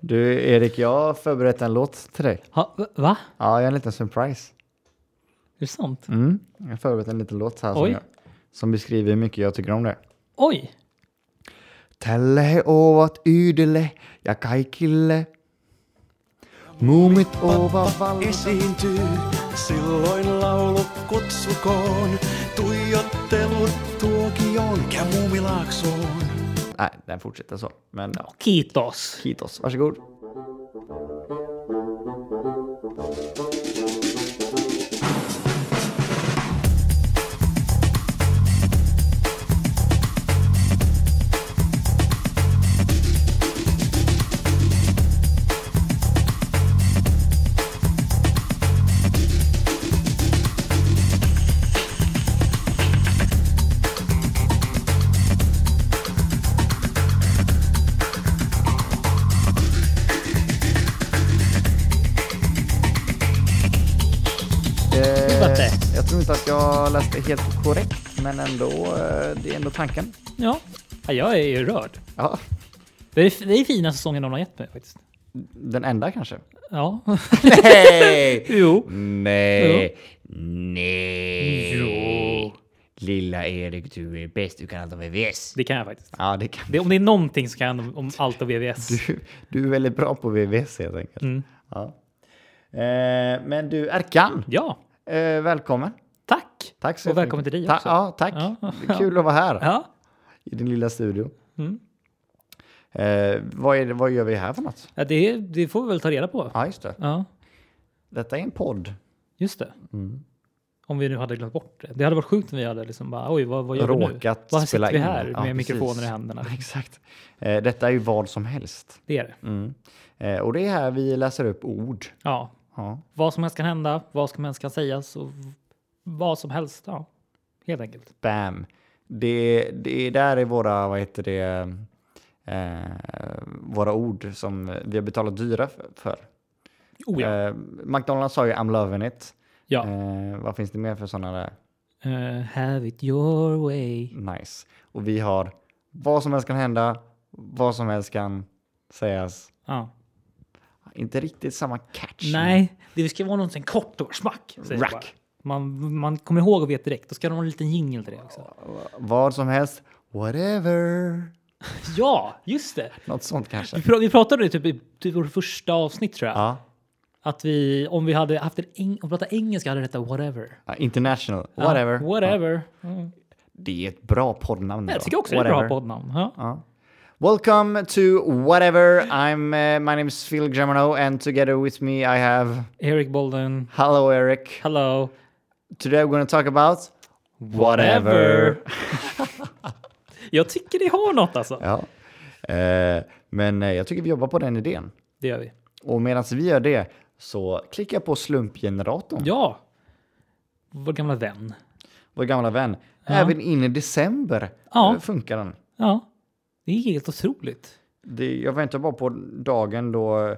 Du Erik, jag har förberett en låt till dig. Ha, va? Ja, jag har en liten surprise. Är det sant? Mm. Jag har förberett en liten låt här som, Oj. jag, som beskriver hur mycket jag tycker om det. Oi! Tälle ovat ydelle ja kaikille. Muumit ovat valmis. esiintyy, silloin laulu kutsukoon. Tuijottelun tuokioon ja muumilaaksoon. Nej, den fortsätter så. Men ja, Kitos! kitos. Varsågod. Vatte. Eh, jag tror inte att jag läste helt korrekt, men ändå, eh, det är ändå tanken. Ja. ja, jag är ju rörd. Ja, Det är det är finaste sången de har gett mig faktiskt. den enda kanske. Ja. Nej! jo. Nej! Nej! Lilla Erik, du är bäst. Du kan allt om VVS. Det kan jag faktiskt. Ja, det kan Det, om det är någonting så kan jag om allt av VVS. du. Du är väldigt bra på VVS helt enkelt. Mm. Ja. Eh, men du, Erkan, Ja, eh, välkommen. tack! Tack så Och välkommen jättemycket. till dig Ta- också. ja, tack. Ja. Det är Kul att vara här Ja, i din lilla studio. Mm. Eh, vad, är det, vad gör vi här för något? ja det, det får vi väl ta reda på. Ja, just det. Ja, Detta är en podd. just det. Mm. Om vi nu hade glömt bort det. Det hade varit sjukt om vi hade liksom bara, oj, vad, vad gör vi nu? Råkat Vad spela sitter in. vi här Ja, med precis. mikrofoner i händerna? Exakt. Eh, detta är ju vad som helst. Det är det. Mm. Eh, och det är här vi läser upp ord. Ja, Ja. vad som helst kan hända, vad som helst kan sägas och v- vad som helst. Ja, helt enkelt. Bam. Det, det där är våra, vad heter det, eh, våra ord som vi har betalat dyra f- för. Oh ja. Eh, McDonalds sa ju I'm loving it. ja. Eh, vad finns det mer för sådana där? Eh, have it your way. Nice. Och vi har vad som helst kan hända, vad som helst kan sägas. Ja. Inte riktigt samma catch. Nej, det ska vara någonting kort och smack. säger jag Rack. bara. Man, man kommer ihåg och vet direkt. Då ska de ha en liten jingle till det också. Vad som helst, whatever. Ja, just det. Något sånt Vi, kanske. pra- vi pratade om det typ i typ vårt första avsnitt tror jag. Ja, Att vi, om vi hade haft en eng- om vi pratade engelska hade det hetat whatever. Ja, international, Ja, whatever. whatever. Mm. Det är ett bra poddnamn. Jag idag. tycker också det är Whatever. ett bra poddnamn. Ja. Ja. Welcome to whatever. I'm uh, my name is Phil Germano, and together with me I have Eric Bolden, Hello Eric. hello. Today we're going to talk about whatever. Jag tycker det har något alltså. Ja. Eh, men eh, jag tycker vi jobbar på den idén. Det gör vi. Och medan vi gör det så klicka på slumpgeneratorn. Ja. Vår gamla vän. Vår gamla vän. Även in i december Ja. eh, funkar den. Ja. Det är helt otroligt. Det, jag väntar bara på dagen då eh,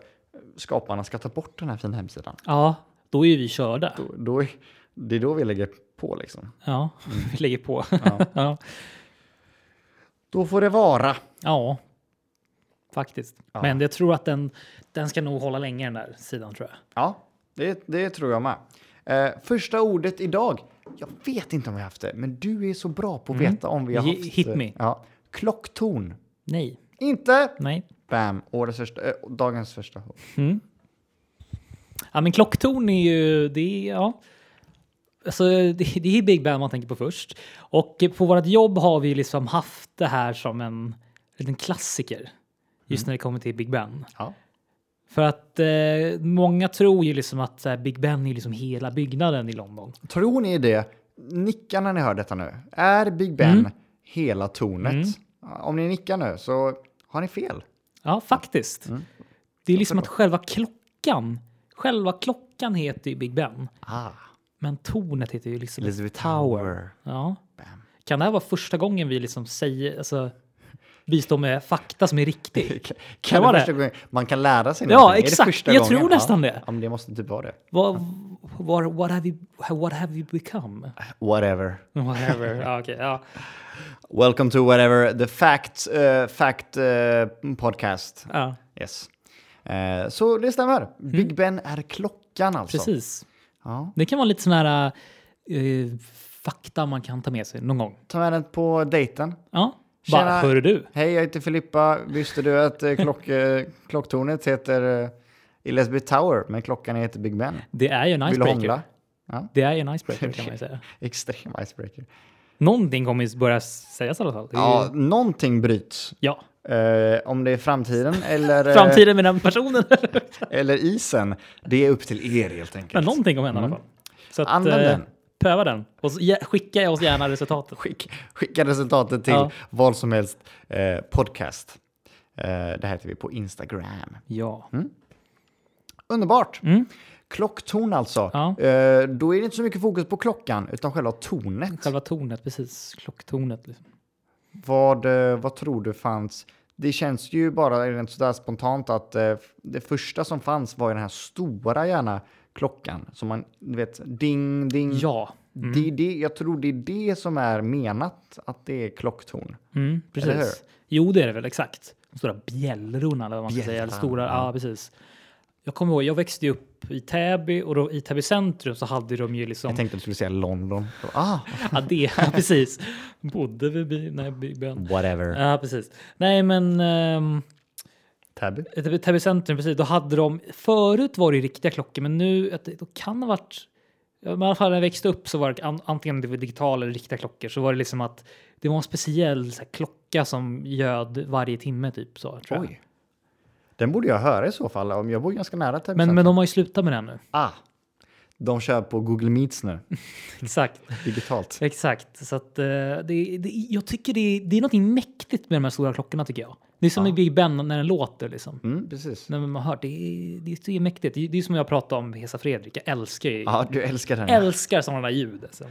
skaparna ska ta bort den här fina hemsidan. Ja, då är ju vi körda. Då, då är, det är då vi lägger på liksom. Ja, vi lägger på. Ja. ja. Då får det vara. ja, faktiskt. Men jag tror att den, den ska nog hålla länge den där sidan tror jag. Ja, det, det tror jag med. Eh, första ordet idag. Jag vet inte om vi har haft det, men du är så bra på att veta om vi har Ge- haft hit det. me. Ja. Klockton. Nej, Inte! nej. Bam. Årets första, eh, dagens första. ord. Ja, men klocktorn är ju... Det är, ja. alltså, det, det är Big Bang man tänker på först. Och på vårt jobb har vi liksom haft det här som en liten klassiker. Just när det kommer till Big Ben. Ja. För att eh, många tror ju liksom att så här, Big Ben är liksom hela byggnaden i London. Tror ni det? Nicka när ni hör detta nu. Är Big Ben hela tornet? Ja, Om ni nickar nu så har ni fel. Ja, faktiskt. Det är liksom att själva klockan, själva klockan heter ju Big Ben. Ah, Men tornet heter ju liksom... Elizabeth Tower. Ja. Bam. Kan det här vara första gången vi liksom säger, alltså, bistår med fakta som är riktig? Kan, Kan det vara första det. gången, man kan lära sig Ja, någonting. Är det exakt. första Jag tror gången? nästan ja. det. Ja, men det måste typ vara det. Vad, vad, what, have you, what have you become? Whatever. Whatever. ja, okej, ja. Welcome to whatever the fact uh, fact uh, eh, podcast. Ja. Mm. Yes. Eh, så det stämmer. Big Ben är klockan alltså. Precis. Ja. Det kan vara lite sån här eh, fakta man kan ta med sig någon gång. Ta med den på dejten. Ja. Tjena. Bara, hör du? Hej, jag heter Filippa. Visste du att eh, klock, eh, klocktornet heter eh, Elizabeth Tower, men klockan heter Big Ben? Det är ju en Vill du icebreaker. hångla? Ja, Det är ju en icebreaker kan man ju säga. extrem icebreaker. Någonting kommer ju börja sägas i alla fall. Det är ju- Ja, någonting bryts. ja. Eh, om det är framtiden eller, eh, Framtiden med den personen. eller isen, det är upp till er helt enkelt. Men någonting kommer hända i alla fall. Så att, Använd eh, den. Pröva den. Och så, ge- skicka oss gärna resultatet. Skick, skicka resultatet till Ja. vad som helst eh, podcast. Eh, det här heter vi på Instagram. Ja. Mm. Underbart! Mm. Klocktorn alltså. Ja. Eh, då är det inte så mycket fokus på klockan, utan själva tornet. Själva tornet, precis. Klocktornet. Liksom. Vad, eh, vad tror du fanns? Det känns ju bara rent sådär spontant att eh, det första som fanns var ju den här stora gärna klockan som man, du vet, ding, ding. Ja. Det är det, jag tror det är det som är menat, att det är klocktorn. Mm, Eller hur? precis. Jo, det är det väl exakt. De stora bjällrorna eller vad man ska säga. Eller Bjällran, stora, ja. precis. Jag kommer ihåg, jag växte ju upp i Täby och då, i Täby centrum så hade de ju liksom... Jag tänkte att du skulle säga London. Ah, Ja, det, ja, precis. Bodde vid by, nej, Mm. byn. whatever. Ja, precis. Nej, men ehm, Täby. i Täby- Täby centrum, precis. Då hade de... Förut var det ju riktiga klockor, men nu... att det- Då kan det ha varit... ja, men I alla fall när jag växte upp så var det an, antingen det var digitala eller riktiga klockor. Så var det liksom att det var en speciell så här, klocka som göd varje timme typ. Så, tror jag. Oj. Den borde jag höra i så fall, om jag bor ganska nära Täby. Men, centrum. men de har ju slutat med det nu. Ah, de kör på Google Meets nu, Exakt. digitalt. Exakt. Så att, eh, det, det, jag tycker det, det är något mäktigt med de här stora klockorna tycker jag. Det är som i Big Ben när den låter liksom. Mm, precis. När man hör, det, är- det är så mäktigt. Det är, det är som jag pratade om Hesa Fredrik. Jag älskar ju, Ja, du älskar den. älskar sådana där ljud. Alltså.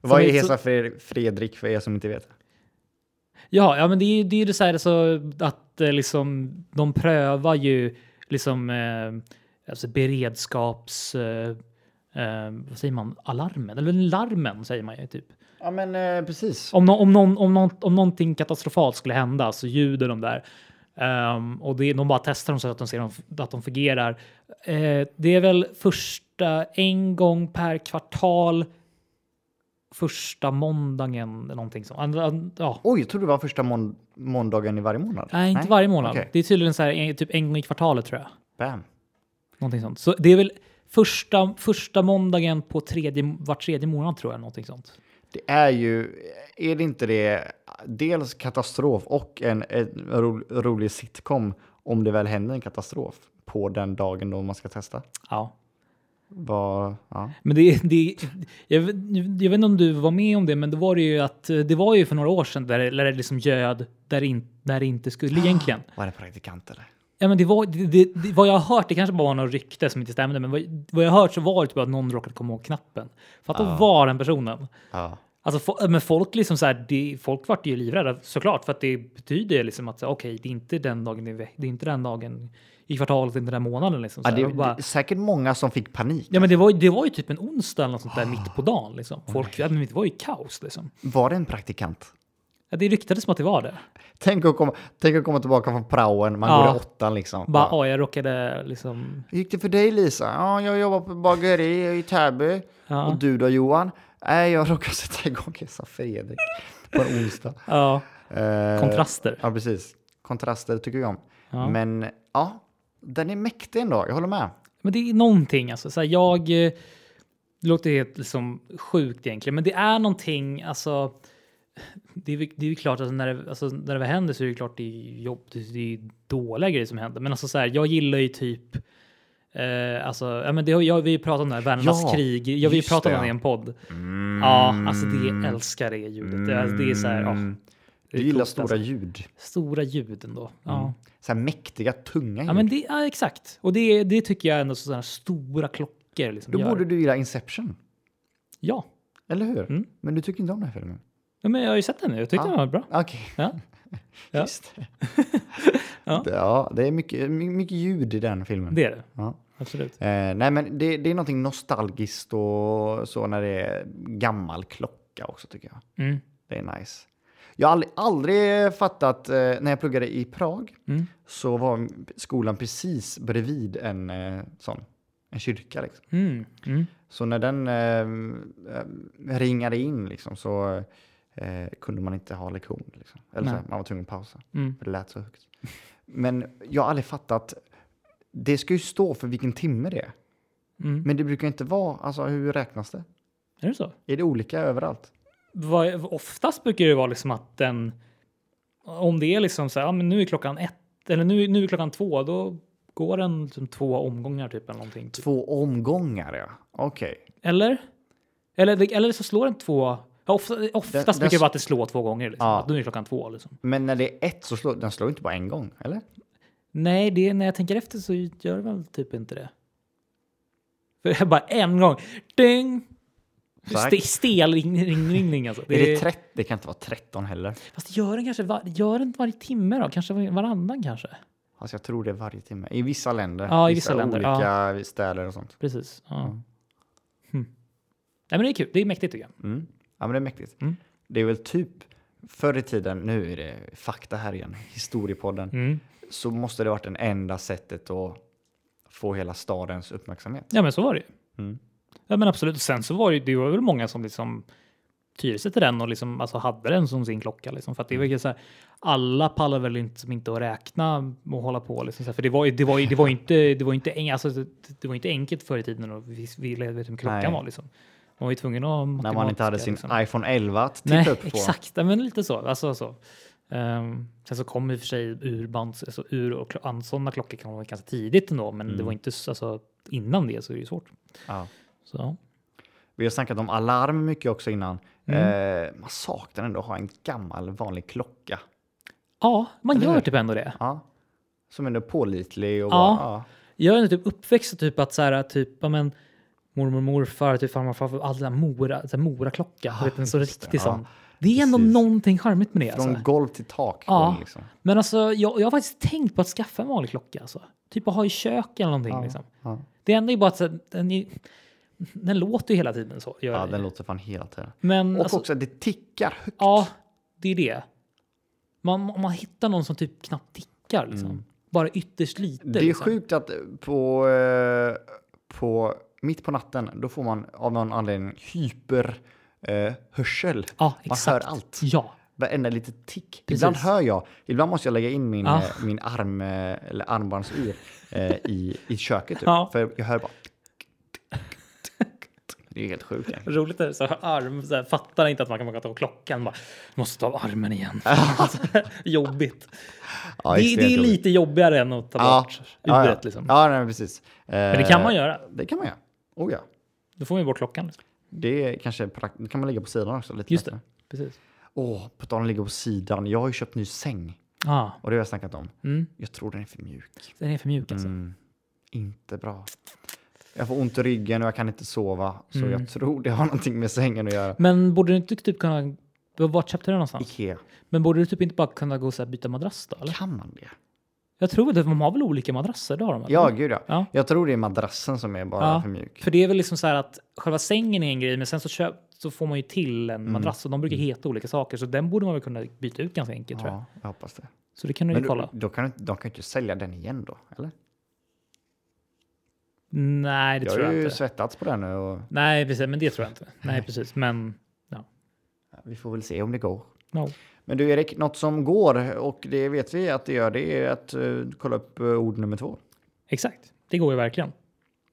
Vad Som är är så- Hesa Fre- Fredrik för er som inte vet? Ja, ja men det är ju det, är ju det så här alltså, att eh, liksom, de prövar ju liksom eh, alltså beredskaps... Eh, eh, vad säger man? Alarmen? Eller larmen säger man ju typ. Ja, men eh, precis. Om, nå- om, någon, om, någon, om någonting katastrofalt skulle hända så ljuder de där. Ehm, och det, de bara testar dem så att de ser dem- att de fungerar. Eh, det är väl första en gång per kvartal. Första måndagen eller någonting sånt. Andra- an- Ja. Oj, jag trodde det var första mån- måndagen i varje månad. Nej, inte varje månad. Okej. Det är tydligen så här, en, typ en gång i kvartalet tror jag. Bam. Någonting sånt. Så det är väl första, första måndagen på tredje, var tredje månad tror jag. Någonting sånt. Det är ju, är det inte det, dels katastrof och en, en ro, rolig sitcom om det väl händer en katastrof på den dagen då man ska testa. Ja. Vad, ja. Men det, det, jag, vet- jag vet inte om du var med om det, men det var det ju att eh, det var ju för några år sedan där, det- där det liksom göd där det, in, där det inte skulle egentligen. Var det praktikant eller? Ja, men det var, det, det, det, vad jag har hört, det kanske bara var något rykte som inte stämde, men vad, vad jag har hört så var det typ att någon råkat komma ihåg knappen. För att då var den personen. Ja. Alltså, fo- men folk liksom så här, det, folk vart ju livrädda såklart för att det betyder ju liksom att så här, okej, det är inte den dagen, i ve- det är inte den dagen i kvartalet, inte den här månaden liksom. Så Ja, här, det, och bara- det, säkert många som fick panik. Ja, men det var, ju- det var ju typ en onsdag eller något sånt där mitt på dagen. Liksom. Folk, ja, men det var ju kaos. Liksom. Var det en praktikant? Ja, det ryktades som att det var det. Tänk att komma, tänk att komma tillbaka från praoen, man Ja. går i åttan liksom. Bara, ja. jag råkade liksom... Hur gick det för dig Lisa? Ja, jag jobbar på bageri i Täby. Ja. Och du då Johan? Nej, jag råkade sätta igång Hesa Fredrik på en onsdag. Ja, Eh, kontraster. Ja, precis. Kontraster tycker jag om. Ja. Men ja, den är mäktig ändå. Jag håller med. Men det är någonting alltså. Så här, jag... eh, Det låter helt liksom, sjukt egentligen, men det är någonting alltså. Det är, väl- det är ju klart att när det, alltså, när det väl händer så är det ju klart det är jobb, det är ju dåliga grejer som händer. Men alltså så här, jag gillar ju typ Eh, alltså, ja, men det, har- jag, vi har ju pratat om det här, Värnarnas Ja, krig. Jag, vi har ju just pratat det, om det i ja. Mm. en podd. Ja, alltså det älskar det ljudet. Det, alltså, det är så här, ja, det Mm. Du är gillar coolt, stora Mm. alltså. ljud. stora ljud ändå. Ja. Så här mäktiga, tunga ljud. Ja, men det, ja, exakt. Och det, det tycker jag ändå sådana stora klockor liksom Då gör. borde du gilla Inception. Ja. Eller hur? Mm. Men du tycker inte om den här filmen? ja, men jag har ju sett den nu. Jag tyckte Ja. den var bra. Okej. Ja. Ja. Just det. Ja. ja, det är mycket, my- mycket ljud i den filmen. Det är det. Ja. Absolut. Eh, nej, men det, det är någonting nostalgiskt och så när det är gammal klocka också tycker jag. Mm. Det är nice. Jag har aldrig, aldrig fattat, eh, när jag pluggade i Prag Mm. så var skolan precis bredvid en eh, sån, en kyrka liksom. Mm. Mm. Så när den eh, eh, ringade in liksom, så eh, kunde man inte ha lektion. Liksom. Eller så, Nej. här, man var tvungen att pausa, Mm. för det lät så högt. Men jag har aldrig fattat, det ska ju stå för vilken timme det är. Mm. Men det brukar inte vara, alltså hur räknas det? Är det så? Är det olika överallt? Vad, oftast brukar det vara liksom att den... Om det är liksom så här, ja, men nu är klockan ett, eller nu, nu är klockan två, då går den liksom två omgångar typ eller någonting. Typ. Två omgångar ja, okej. Eller? eller? Eller så slår den två... Ja, ofta, oftast Den- den brukar det s- vara att det slår två gånger. Liksom. Ja. Att nu är klockan två liksom. Men när det är ett så slår den slår inte bara en gång, eller? Nej, det, när jag tänker efter så gör det väl typ inte det. För det är bara en gång. Ding! Exakt. Ste, stel ring, ring, ring, ring alltså. Är det 30? Det kan inte vara 13 heller. Fast gör den kanske var, gör den varje timme då? Kanske var- varannan kanske? Alltså jag tror det är varje timme. I vissa länder. Ja, i vissa länder, Olika städer och sånt. Precis. Ja. Hm. Nej men det är kul. Det är mäktigt tycker jag. Mm. Ja, men det är mäktigt. Mm. Det är väl typ förr i tiden, nu är det fakta här igen, historiepodden, Mm. så måste det varit det enda sättet att få hela stadens uppmärksamhet. Ja men så var det ju. Mm. Ja men absolut. Och sen så var det ju, det var väl många som liksom tyrde sig till den och liksom alltså hade den som sin klocka liksom. För att det Mm. var ju så här, alla pallar väl inte som inte att räkna och hålla på liksom. Så här, för det var ju, det var ju, det var ju inte, det var ju inte, eng, alltså, det, det var ju inte enkelt förr i tiden och vi, vi levde vet hur klockan Nej. var liksom. Man var ju tvungen att ha När man matematiska, inte hade sin liksom. iPhone 11 att titta Nej, upp på. exakt. Ja, men lite så. Alltså, så. Ehm, sen så kom i och för sig urbands, alltså ur och klo- an- sådana klockor kan vara ganska tidigt ändå, men Mm. det var inte s- alltså, innan det så är det ju svårt. Ja. Så, ja. Vi har snackat om alarm mycket också innan. Mm. Eh, man saknar ändå att ha en gammal vanlig klocka. ja, man Eller hur? gör typ ändå det. Ja. Som ändå är pålitlig och Ja. bara, ja. Jag är ändå typ uppväxt typ att så här, typ, ja, men, mormor, morfar, typ farmor, farfar, alla mora, så här, mora-klocka. du vet, en så Ah, just det. riktig Ja, sån. Det är ändå precis. någonting charmigt med det. Från Alltså. golv till tak. Ja. går Liksom. Men alltså, jag, jag har faktiskt tänkt på att skaffa en vanlig klocka. Alltså. Typ att ha i köket eller någonting. Liksom. Ja. Det enda är bara att så här, den, är, den låter ju hela tiden så. Gör ja, den den ju. låter fan hela tiden. Men Och alltså, också det tickar högt. ja, det är det. Man, om man hittar någon som typ knappt tickar, liksom. bara ytterst lite. Mm. Det är liksom. sjukt att på, eh, på mitt på natten, då får man av någon anledning hyper eh, hörsel. Ja, man exakt. hör allt. Ja, Varenda litet tick. Precis. Ibland hör jag, ibland måste jag lägga in min, Ja. eh, min arm eh, eller armbandsur eh, i, i köket. Typ. Ja. För jag hör bara... Det är helt sjukt. egentligen. roligt är det så här, arm, så här, fattar inte att man kan ta av klockan. Bara, måste ta av armen igen. Alltså, Jobbigt. Ja, det, extremt det är roligt. lite jobbigare än att ta Ja. bort Ja, uret. ja. Liksom. ja nej, precis. Eh, Men det kan man göra. Det kan man göra. Oh ja. Då får man ju bort klockan. Liksom. Det är kanske prakt- det kan man lägga på sidan också. Lite Just lättare. det, precis. Åh, på tal om att ligga på sidan. Jag har ju köpt ny säng. Ah, Och det har jag snackat om. mm. Jag tror den är för mjuk. Den är för mjuk alltså. Mm, inte bra. Jag får ont i ryggen och jag kan inte sova. Så Mm. jag tror det har någonting med sängen att göra. Men borde du inte typ kunna... Vart köpte du den någonstans? Ikea. Men borde du typ inte bara kunna gå och så här byta madrass då? Eller? Kan man det? Jag tror att de har väl olika madrasser? Det har de, eller? Ja, gud ja. Ja. Jag tror det är madrassen som är bara Ja. för mjuk. För det är väl liksom så här att själva sängen är en grej, men sen så, köp, så får man ju till Mm. en madrass och de brukar heta olika saker, så den borde man väl kunna byta ut ganska enkelt tror jag. Ja, jag hoppas det. Så det kan du Men ju då, kolla. då kan, de kan ju inte sälja den igen då, eller? Nej, det Jag tror har jag ju inte. svettats på den nu och Nej, precis, men det tror jag inte. Nej, precis, men ja. vi får väl se om det går. No. Men du Erik, något som går och det vet vi att det gör, det är att eh, kolla upp eh, ord nummer två. Exakt, det går ju verkligen.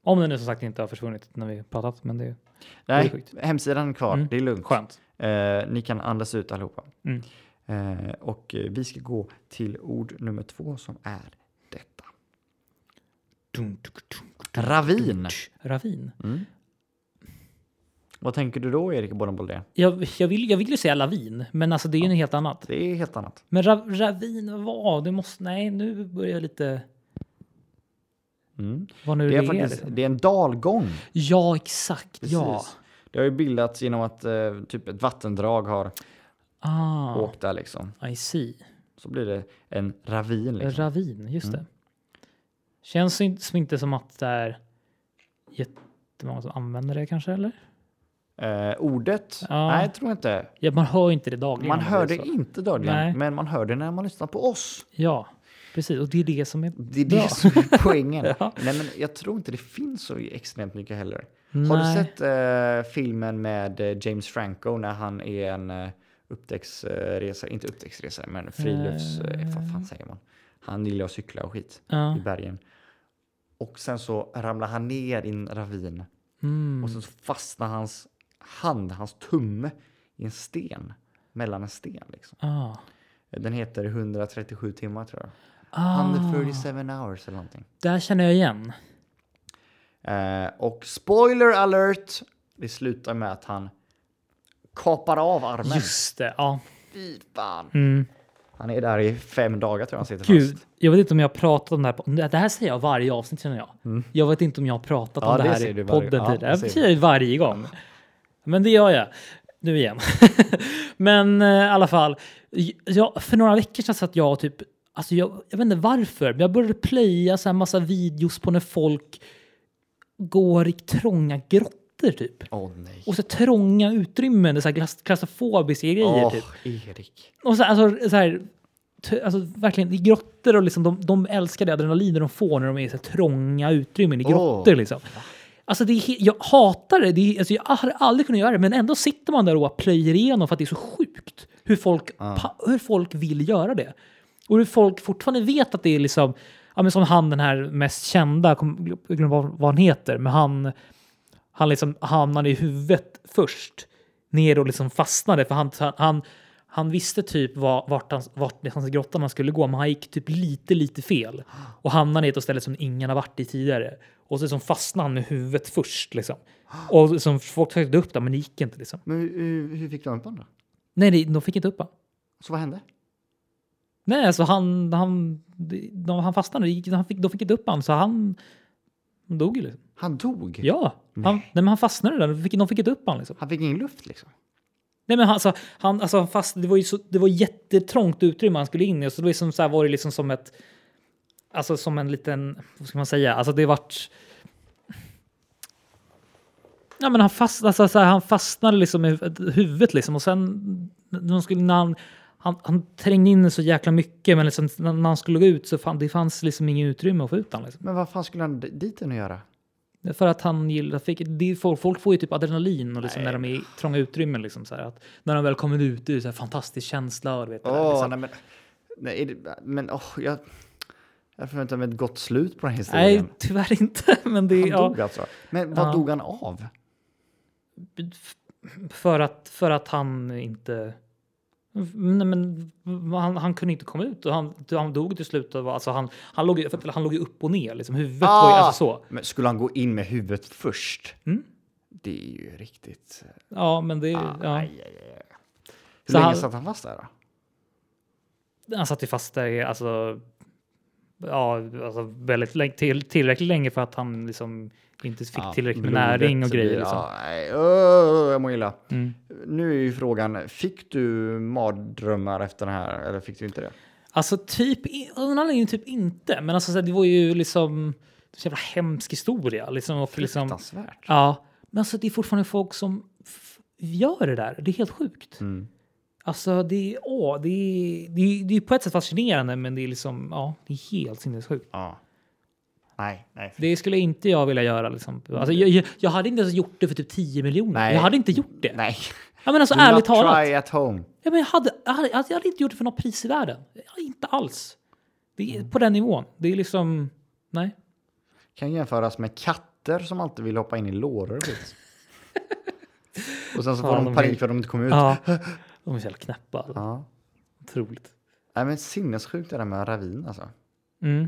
Om den nu som sagt inte har försvunnit när vi pratat, men det är Det är Nej, sjukt. hemsidan är kvar. Mm. Det är lugnt. skönt. Eh, ni kan andas ut allihopa. Mm. Eh, och eh, vi ska gå till ord nummer två som är detta. Dun, dun, dun, dun. Ravin. Ravin. Mm. Vad tänker du då Erik Bodenboll det? Jag, jag, vill, jag vill ju säga lavin, men alltså det är ju något helt annat. Det är helt annat. Men ra, ravin, vad? Det måste... Nej, nu börjar jag lite... Mm. Vad Det, nu det, är är. faktiskt, liksom. det är en dalgång. Ja, exakt. Ja. Precis. Det har ju bildats genom att eh, typ ett vattendrag har Ah, åkt där liksom. I see. Så blir det en ravin. Liksom. Ravin, just det. Känns in- som inte som att det är jättemånga som använder det kanske, eller? eh, ordet. Ja. Nej, jag tror inte. Ja, man hör ju inte det dagligen. Man om hör det säger så. inte dagligen, Nej. men man hör det när man lyssnar på oss. Ja, precis. Och det är det som är Det är bra. det som är poängen. Ja. Nej, men jag tror inte det finns så extremt mycket heller. Har du Nej. sett eh, filmen med eh, James Franco när han är en eh, upptäcktsresa, inte upptäcktsresa, men frilufts... Eh, vad fan säger man? Han gillar att cykla och skit Ja. i bergen. Och sen så ramlar han ner i en ravin Mm. och sen så fastnar hans hand, hans tumme, i en sten. Mellan en sten liksom. Ah. Den heter 137 timmar tror jag. Ah. 137 hours eller någonting. Där känner jag igen. Eh, och spoiler alert! Det slutar med att han kapar av armen. Just det. Ja. Fy fan. Mm. Han är där i fem dagar tror jag han sitter Gud, fast. jag vet inte om jag har pratat om det här. På, det här säger jag varje avsnitt känner jag. Jag vet inte om jag har pratat Mm. Ja, om det, det här säger du i varje- podden ja, tidigare. det Jag säger säger det varje gång. Men det gör jag. Nu igen. men eh, i alla fall. j- Jag, för några veckor sedan satt jag och typ, alltså jag, jag vet inte varför, men jag började plöja så här massa videos på när folk går i trånga grottor typ. Åh nej. Och så trånga utrymmen, det är så här glas- klaustrofobiska grejer Åh, typ. Erik. Och så, alltså, så här, t- alltså, verkligen i grottor och liksom, de, de älskar det adrenalin de får när de är i så här, trånga utrymmen i Åh. grottor. Liksom. Alltså, det är, he- jag hatar det. det är, alltså, jag hade aldrig kunnat göra det, men ändå sitter man där och bara plöjer igenom för att det är så sjukt hur folk, pa, hur folk vill göra det. Och hur folk fortfarande vet att det är liksom, ja, men som han den här mest kända, jag kom- jag glömmer vad, vad han heter, men han, han liksom hamnade i huvudet först ner och liksom fastnade för han, han, han, han visste typ var, vart, hans, vart i hans grotta man skulle gå men han gick typ lite lite fel och hamnade i ett ställe som ingen har varit i tidigare och så liksom fastnade han med huvudet först liksom och liksom, folk försökte upp det men det gick inte liksom. Men hur, hur, hur fick du upp honom då? Nej, det- de fick inte upp han. Så vad hände? Nej, alltså han, han, de, de, han fastnade, Det gick- han fick, de fick inte upp han så han han dog ju liksom. Han dog? Ja, han, nej. men han fastnade där, de fick, de fick inte upp han liksom. Han fick ingen luft liksom? Nej men han- alltså, han, alltså han fast, det var ju så, det var jättetrångt utrymme han skulle in i. och Så det var, liksom så här, var det liksom som ett... Alltså som en liten... Vad ska man säga? Alltså det vart... Ja men han, fast, alltså, så här, han fastnade liksom i huvudet liksom och sen... När han, skulle, när han, han, han trängde in så jäkla mycket men liksom, när när han skulle gå ut så fan, det fanns liksom inget utrymme att få ut honom. Liksom. Men vad fan skulle han d- dit än att göra? För att han gillar, fick, det är, folk, folk får ju typ adrenalin och liksom när de är i trånga utrymmen. Liksom, så här, att när de väl kommer ut, det är så här fantastisk känsla. Och, du vet, det där, Åh, liksom. nej men... Nej, är det, men åh, jag, jag förväntar mig ett gott slut på den här Nej, historien. tyvärr inte. Men det, han ja, dog alltså. Men vad Ja. dog han av? för, att, för att han inte... Nej, men han, han kunde inte komma ut och han, han dog till slut. av- Alltså han, han, låg, ju- för att han låg ju upp och ner, liksom. huvudet var Ah! ju alltså så. Men skulle han gå in med huvudet först? Mm. Det är ju riktigt... Ja, men det... Ah, ja. aj, aj, aj. Hur Så länge han- satt han fast där då? Han satt ju fast där i, alltså, ja, alltså väldigt länge, till, tillräckligt länge för att han liksom inte fick Ja, tillräckligt med blodet näring och blir- grejer. Liksom. Ja, nej, öh, jag mår illa. Mm. Nu är ju frågan, fick du mardrömmar efter den här eller fick du inte det? Alltså typ, i- av någon anledning typ inte, men alltså, så här, det var ju liksom en jävla hemsk historia. Liksom, och liksom, Fruktansvärt. ja, men alltså det är fortfarande folk som f- gör det där. Det är helt sjukt. Mm. Alltså det är, åh, det är, det är, det är på ett sätt fascinerande, men det är liksom, ja, det är helt sinnessjukt. Ja. Nej, nej. Det skulle inte jag vilja göra. Liksom. Alltså, jag, jag, jag hade inte ens gjort det för typ 10 miljoner. Nej. Jag hade inte gjort det. Nej. Ja, men alltså, Do not ärligt talat. try at home. Ja, men jag, hade, jag, hade, alltså, jag hade inte gjort det för något pris i världen. Jag- Inte alls. Det är på den nivån. Det är liksom... Nej. Kan jämföras med katter som alltid vill hoppa in i låror. och skit. Och sen så får Fan, de de panik vill- för att de inte kommer ut. Ja. De är så jävla knäppa. alltså. Ja. Otroligt. Nej, men sinnessjukt det där med ravin alltså. Mm.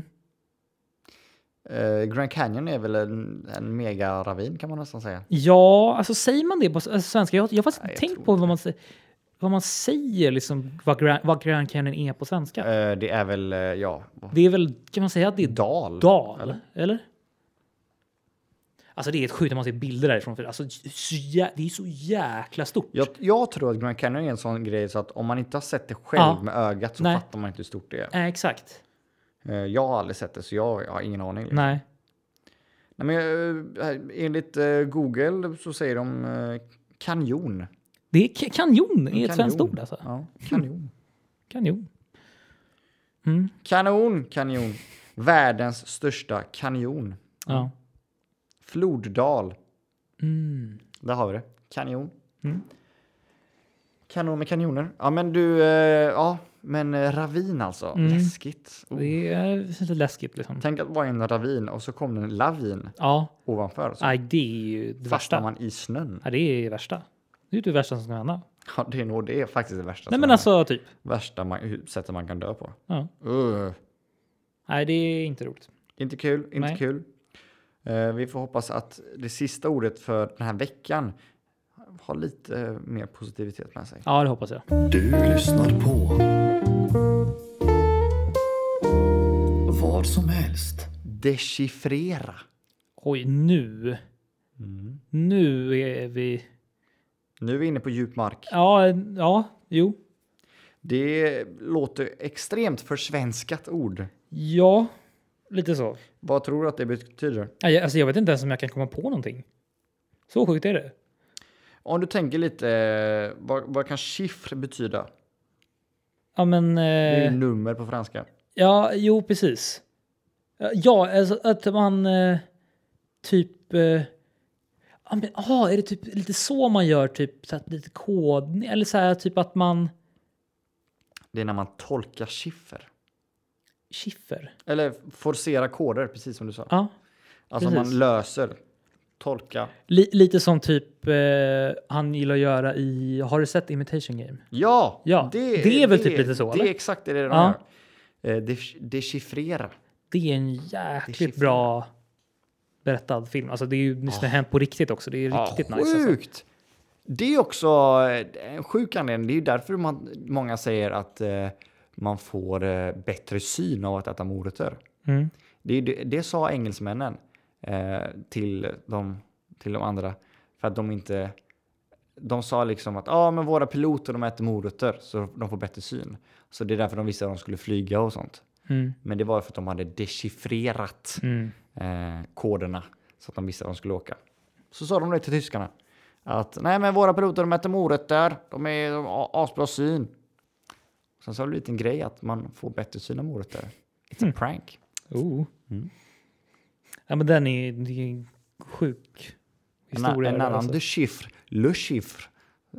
Eh, Grand Canyon är väl en, en mega-ravin kan man nästan säga. Ja, alltså säger man det på s- alltså, svenska? Jag, jag har faktiskt Nej, jag inte tänkt tror på vad man, sä- vad man säger, liksom, vad, Grand, vad Grand Canyon är på svenska. Eh, det är väl, eh, ja, Det är väl, kan man säga att det är dal. dal, eller? Alltså det är ett sjukt när man ser bilder därifrån. För alltså, så jä- det är så jäkla stort. Jag, jag tror att Grand Canyon är en sån grej så att om man inte har sett det själv Ja. med ögat så Nej. fattar man inte hur stort det är. Eh, exakt. Eh, jag har aldrig sett det så jag, jag har ingen aning. liksom. Nej. Nej, men, eh, enligt eh, Google så säger de eh, Kanjon. Det är ka- kanjon, är ett Kanjon. svenskt ord alltså. Ja, kanjon. Kanjon. Kanon, kanjon. Världens största kanjon. Oh. Ja. Floddal. Mm. Där har vi det. Kanjon. Kanon med kanjoner. Ja, men du... Eh, ja, men eh, ravin alltså. Mm. Läskigt. Oh. Det är lite läskigt liksom. Tänk att vara i en ravin och så kom det en lavin Ja, ovanför. Så nej, det är ju det fastnar värsta. man i snön. Ja, det är det värsta. Det är ju det värsta som kan hända. Ja, det är nog det är faktiskt det värsta. Nej som men är- alltså typ. Värsta man, sättet man kan dö på. Ja. Ugh. Nej, det är inte roligt. Inte kul, inte Nej. kul. Eh, vi får hoppas att det sista ordet för den här veckan har lite eh, mer positivitet med sig. Ja, det hoppas jag. Du lyssnar på vad som helst. Dechiffrera. Oj, nu. Mm. Nu är vi... Nu är vi inne på djup mark. Ja, ja, jo. Det låter extremt försvenskat ord. Ja, lite så. Vad tror du att det betyder? Nej, jag- Alltså, jag vet inte ens om jag kan komma på någonting. Så sjukt är det. Om du tänker lite, eh, vad, vad kan chiffre betyda? Ja, men... Det är Eh, ju nummer på franska. Ja, jo, precis. Ja, alltså att man eh, typ... Eh, ja, men, aha, är det typ lite så man gör? Typ så att lite kod... Eller så här, typ att man... Det är när man tolkar chiffer. Chiffer? Eller forcera koder, precis som du sa. Ja. Alltså precis. man löser, tolka. Li, lite som typ eh, han gillar att göra i... Har du sett Imitation Game? Ja, Ja, det är väl typ lite så, Det eller? är exakt det de Ja. gör. Eh, def- Dechiffrera. Det är en jäkligt Chiffer. bra berättad film. Alltså det är ju nyss hänt på riktigt också. Det är riktigt nice. Alltså. Ah. sjukt! Det är också eh, en sjuk anledning. Det är ju därför man, många säger att eh, man får eh, bättre syn av att äta morötter. Mm. Det, är det, det sa engelsmännen eh, till, de, till de andra. För att de inte... De sa liksom att ah, men våra piloter de äter morötter så de får bättre syn. Så det är därför de visste att de skulle flyga och sånt. Mm. Men det var för att de hade dechiffrerat Mm. eh, koderna så att de visste att de skulle åka. Så sa de det till tyskarna. Att nej, men våra piloter de äter morötter. De är de har asbra syn. Sen så har det blivit en grej att man får bättre syn av morötter. It's a prank. Oh. Mm. Ja, men den är, det är en sjuk En, historia. en där, annan alltså. de chiffre, le chiffre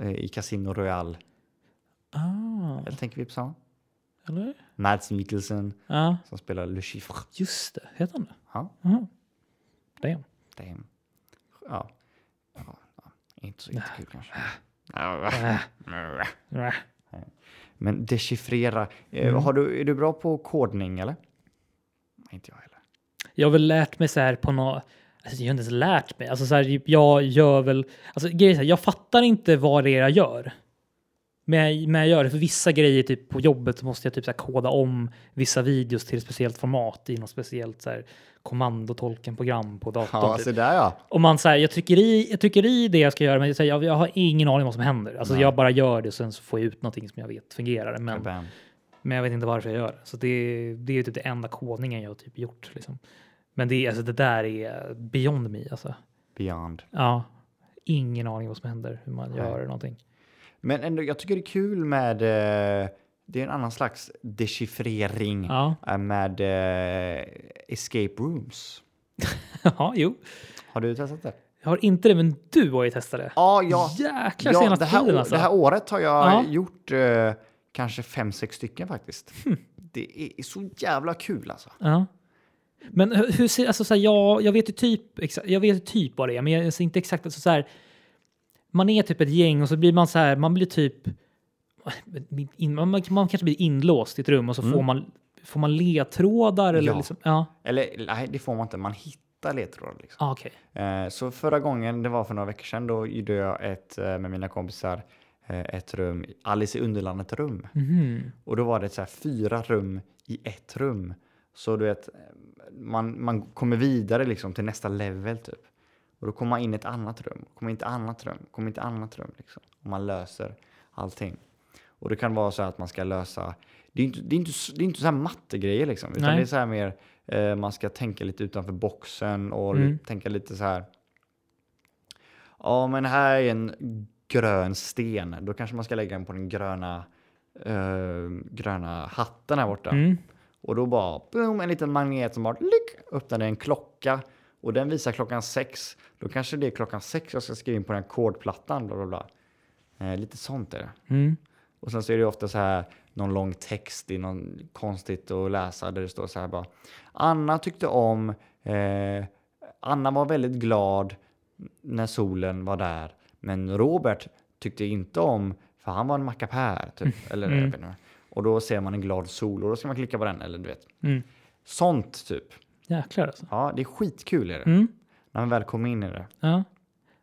eh, i Casino Royale. Ah, Eller tänker vi på samma? eller? Mads Mikkelsen Ja, som spelar le chiffre. just det. Heter han det? Ja, Jaha. Damn. det är en... Ja. ja, ja. Inte så inte kul kanske. Mm, Nä. Men dechiffrera. Eh, Mm. Har du, är du bra på kodning eller? Nej, inte jag heller. Jag har väl lärt mig så här på något... Alltså jag har inte ens lärt mig. Alltså så här, jag gör väl... Alltså grejen är så här, jag fattar inte vad det är jag gör. Men jag, men jag gör det för vissa grejer typ på jobbet så måste jag typ så här koda om vissa videos till ett speciellt format i något speciellt så här kommandotolkenprogram på datorn. Ja, typ. så där ja. Och man så här, jag, trycker i, jag trycker i det jag ska göra, men jag, säger, jag, jag har ingen aning om vad som händer. Alltså, jag bara gör det och sen så får jag ut någonting som jag vet fungerar. Men, Bam. men jag vet inte varför jag gör det. Så det, det är ju typ det enda kodningen jag har typ gjort. Liksom. Men det, alltså, det där är beyond me. Alltså. Beyond. Ja, ingen aning vad som händer, hur man gör någonting. Men ändå, jag tycker det är kul med... Eh, det är en annan slags dechiffrering Ja, eh, med eh, escape rooms. ja jo. Har du testat det? Jag har inte det, men du har ju testat det. Ja, ja. Jäklar ja senaste det, här, tiden å- alltså. det här året har jag Ja. gjort eh, kanske fem, sex stycken faktiskt. Hm. Det är så jävla kul alltså. Ja. Men hur, hur ser, alltså så här, jag, jag vet ju typ, exa, jag vet ju typ vad det är, men jag ser inte exakt. Alltså så här, man är typ ett gäng och så blir man så här, man blir typ, in, man, man kanske blir inlåst i ett rum och så får man, får man ledtrådar eller Ja. liksom, Mm. ja, Eller nej, det får man inte. Man hittar ledtrådar. Liksom. ah, okej. Eh, Så förra gången, det var för några veckor sedan, då gjorde jag ett, eh, med mina kompisar eh, ett rum, Alice i Underlandet-rum. Mhm. Och då var det så här fyra rum i ett rum. Så du vet, eh, man, man kommer vidare liksom till nästa level typ. Och då kommer man in i ett annat rum, kommer in i ett annat rum, kommer in i ett annat rum. Liksom. Och man löser allting. Och det kan vara så här att man ska lösa, det är inte, det är inte, s- det är inte så här mattegrejer liksom. Utan Nej. det är så här mer, eh, man ska tänka lite utanför boxen och Mm. tänka lite så här. ja men här är en grön sten, då kanske man ska lägga den på den gröna, eh, gröna hatten här borta. Mm. Och då bara boom, en liten magnet som bara lyck, öppnade en klocka. Och den visar klockan sex. Då kanske det är klockan sex jag ska skriva in på den här ackordplattan. Bla, bla, bla. Eh, lite sånt är det. Mm. Och sen så är det ju ofta så här någon lång text i någon konstigt att läsa där det står så här bara. Anna tyckte om, eh, Anna var väldigt glad när solen var där. Men Robert tyckte inte om, för han var en mackapär Mm. typ. Eller jag vet inte. Och då ser man en glad sol och då ska man klicka på den eller du vet. Mm. Sånt typ. Jäklar alltså. Ja, det är skitkul är det. Mm. När man väl kommer in i det. Ja.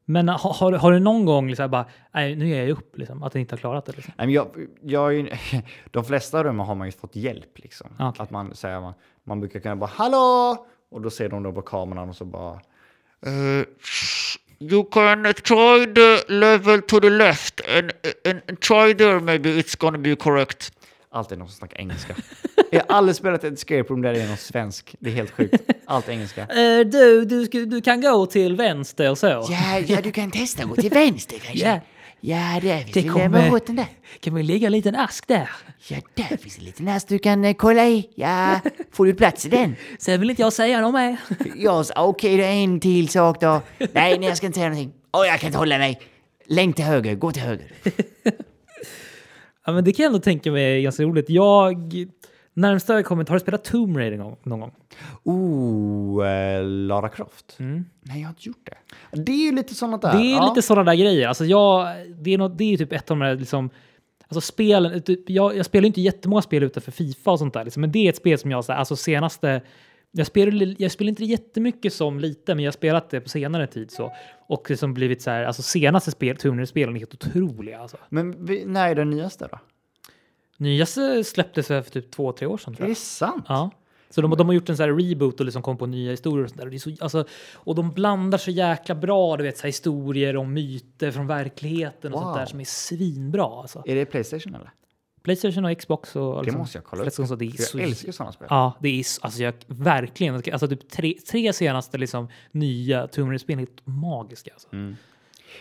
Men ha- har, har du någon gång liksom bara, nej nu ger jag upp liksom, att du inte har klarat det liksom? Nej, men jag, jag, är ju- de flesta rummen har man ju fått hjälp. Liksom. Okej. Att man, säger, man, man brukar kunna bara ”Hallå!” och då ser de då på kameran och så bara you can Eh, try the level to the left and, and try there maybe it's gonna be correct Alltid någon som snackar engelska. jag har aldrig spelat ett escape room där det är någon svensk. Det är helt sjukt. Allt engelska. Eh, du, du, ska- du kan gå till vänster och så. Ja, ja, du kan testa att gå till vänster kanske. Ja. Ja, där finns Det det kommer- lämna åt den där. Kan vi lägga en liten ask där? Ja, där finns en liten häst du kan eh, kolla i. Ja, får du plats i den? Sen vill inte jag säga något mer. Ja, så- okej då, en till sak då. Nej, nej, jag ska inte säga någonting. Åh, jag kan inte hålla mig. Länk till höger, gå till höger. Ja, men det kan jag ändå tänka mig är ganska roligt. Jag, närmsta jag kommit, har du spelat Tomb Raider någon, någon gång? Oh, eh, Lara Croft. Nej, jag har inte gjort det. Det är ju lite sånt där. Mm. Det är ja. lite sådana där grejer. Alltså jag, det, är något, det är ju typ ett av de där liksom, alltså spelen. Typ, jag, jag spelar ju inte jättemånga spel utanför Fifa och sånt där, liksom, men det är ett spel som jag, så här, alltså senaste, jag spelar, jag spelar inte det jättemycket som liten, men jag har spelat det på senare tid så. Och liksom blivit så här, alltså senaste spel, Tomb Raider-spelen är helt otroliga alltså. Men vi, när är den nyaste då? Nyaste släpptes väl för typ två, tre år sedan tror Är jag. det sant? Ja. Så de, de har gjort en sån här reboot och liksom kom på nya historier och sånt där. Och, det är så, alltså, och de blandar så jäkla bra, du vet, så här historier om myter från verkligheten och sånt Wow. där som är svinbra. Alltså. Är det Playstation eller? Playstation och Xbox och... Det måste jag kolla upp. Liksom, så det är För så, jag älskar ju sådana spel. Ja, det är så- alltså jag, verkligen. Alltså typ tre, tre senaste liksom, nya Tomb Raider-spel är helt magiska. Alltså. Mm.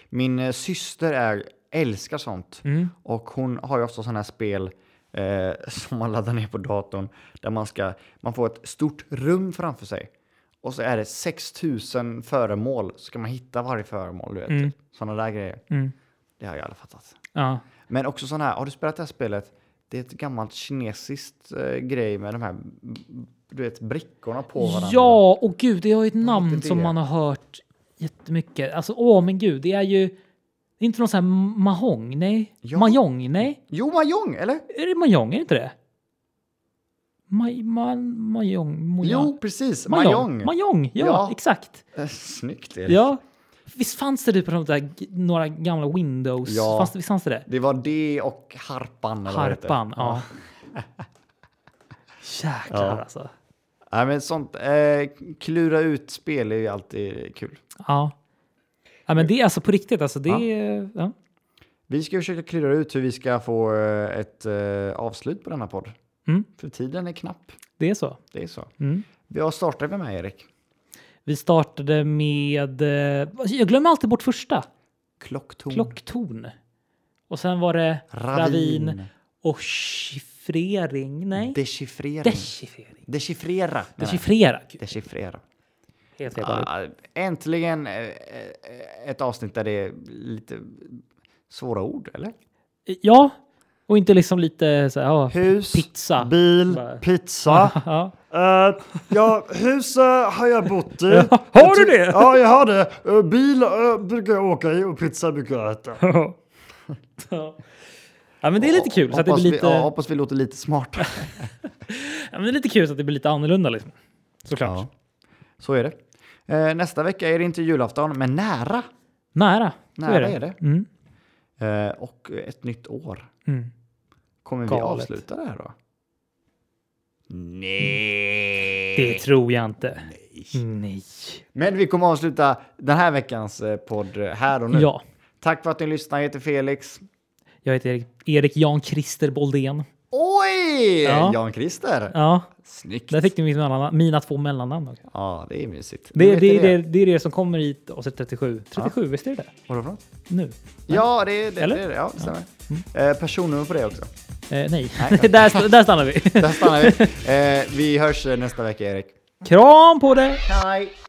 Min eh, syster är, älskar sånt. Mm. Och hon har ju ofta sådana här spel eh, som man laddar ner på datorn. Där man, ska, man får ett stort rum framför sig. Och så är det 6000 föremål. Så ska man hitta varje föremål. Du vet. Sådana där grejer. Mm. Det har jag aldrig fattat. Ja. Men också sådana här, har du spelat det här spelet? Det är ett gammalt kinesiskt eh, grej med de här du vet, brickorna på varandra. Ja, och gud, det har ju ett namn heter som det? man har hört jättemycket. Alltså, åh men gud, det är ju... det är Inte någon sån här mahong, nej? Ja. Mahjong, nej? Jo, Mahjong, eller? Är det mahjong, är det inte det? Maj, man, mahjong, moja- Jo, precis. mahjong. Mahjong. Mahjong, ja, Ja. exakt. Eh, Snyggt, Erik. Ja. Visst fanns det det på de där, g- några gamla Windows? Ja. Fanns det, visst fanns det det? Det var det och harpan. Eller vad det heter. Harpan, ja. Jäklar Ja. alltså. Nej, men sånt, eh, klura ut spel är ju alltid kul. Ja. ja. men det är alltså på riktigt, alltså det är... Ja. Vi ska försöka klura ut hur vi ska få eh, ett eh, avslut på denna podd. Mm. För tiden är knapp. Det är så. Det är så. Mm. Vi har startat med mig, Erik. Vi startade med... eh, alltså, Jag glömmer alltid bort första. Mm. Klocktorn. Klocktorn. Och sen var det ravin, Ravin. och chiffrering. Nej, Dechiffrering. dechiffrering. Dechiffrera. menar jag. Dechiffrera. Gud, Dechiffrera. Helt fel. Ah. Ah, äntligen eh, eh, ett avsnitt där det är lite svåra ord, eller? Ja, och inte liksom lite så här... Ja. Hus, Pizza. bil, Bara- pizza. Ja. Eh, ja, hus eh, har jag bott i. har du det? Ja, jag har det. Eh, bil eh, brukar jag åka i och pizza brukar jag äta. Ja. ja, men det är lite kul. Så att det blir lite, vi, ja, hoppas vi låter lite smarta. ja, men det är lite kul så att det blir lite annorlunda liksom. Såklart. Ja. Så är det. Eh, nästa vecka är det inte julafton, men nära. Nära. Så Nära är det. Mm. Eh, och ett nytt år. Mm. Kommer vi Galet. avsluta det här då? Det tror jag inte. Nej. Men vi kommer avsluta den här veckans eh, podd här och nu. Ja, Tack för att ni lyssnade. Jag heter Felix. jag heter Erik, Erik Jan Christer Boldén. Oj! Oj! Ja. Jan-Christer. Ja, Snyggt. där fick du mitt mellannamn, mina två mellannamn också. Ja, det är mysigt. Det, Vad det, det, heter det, är det som kommer hit avsnitt 37. 37, visst är det det? Vadå för något? Nu? Eh, Ja, det är det. Eller? det, är det. Ja, det stämmer. Eh, personnummer på det också. Eh, nej, där, st- där stannar vi. Där stannar vi. Eh, vi hörs eh, nästa vecka, Erik. Kram på dig! Hej!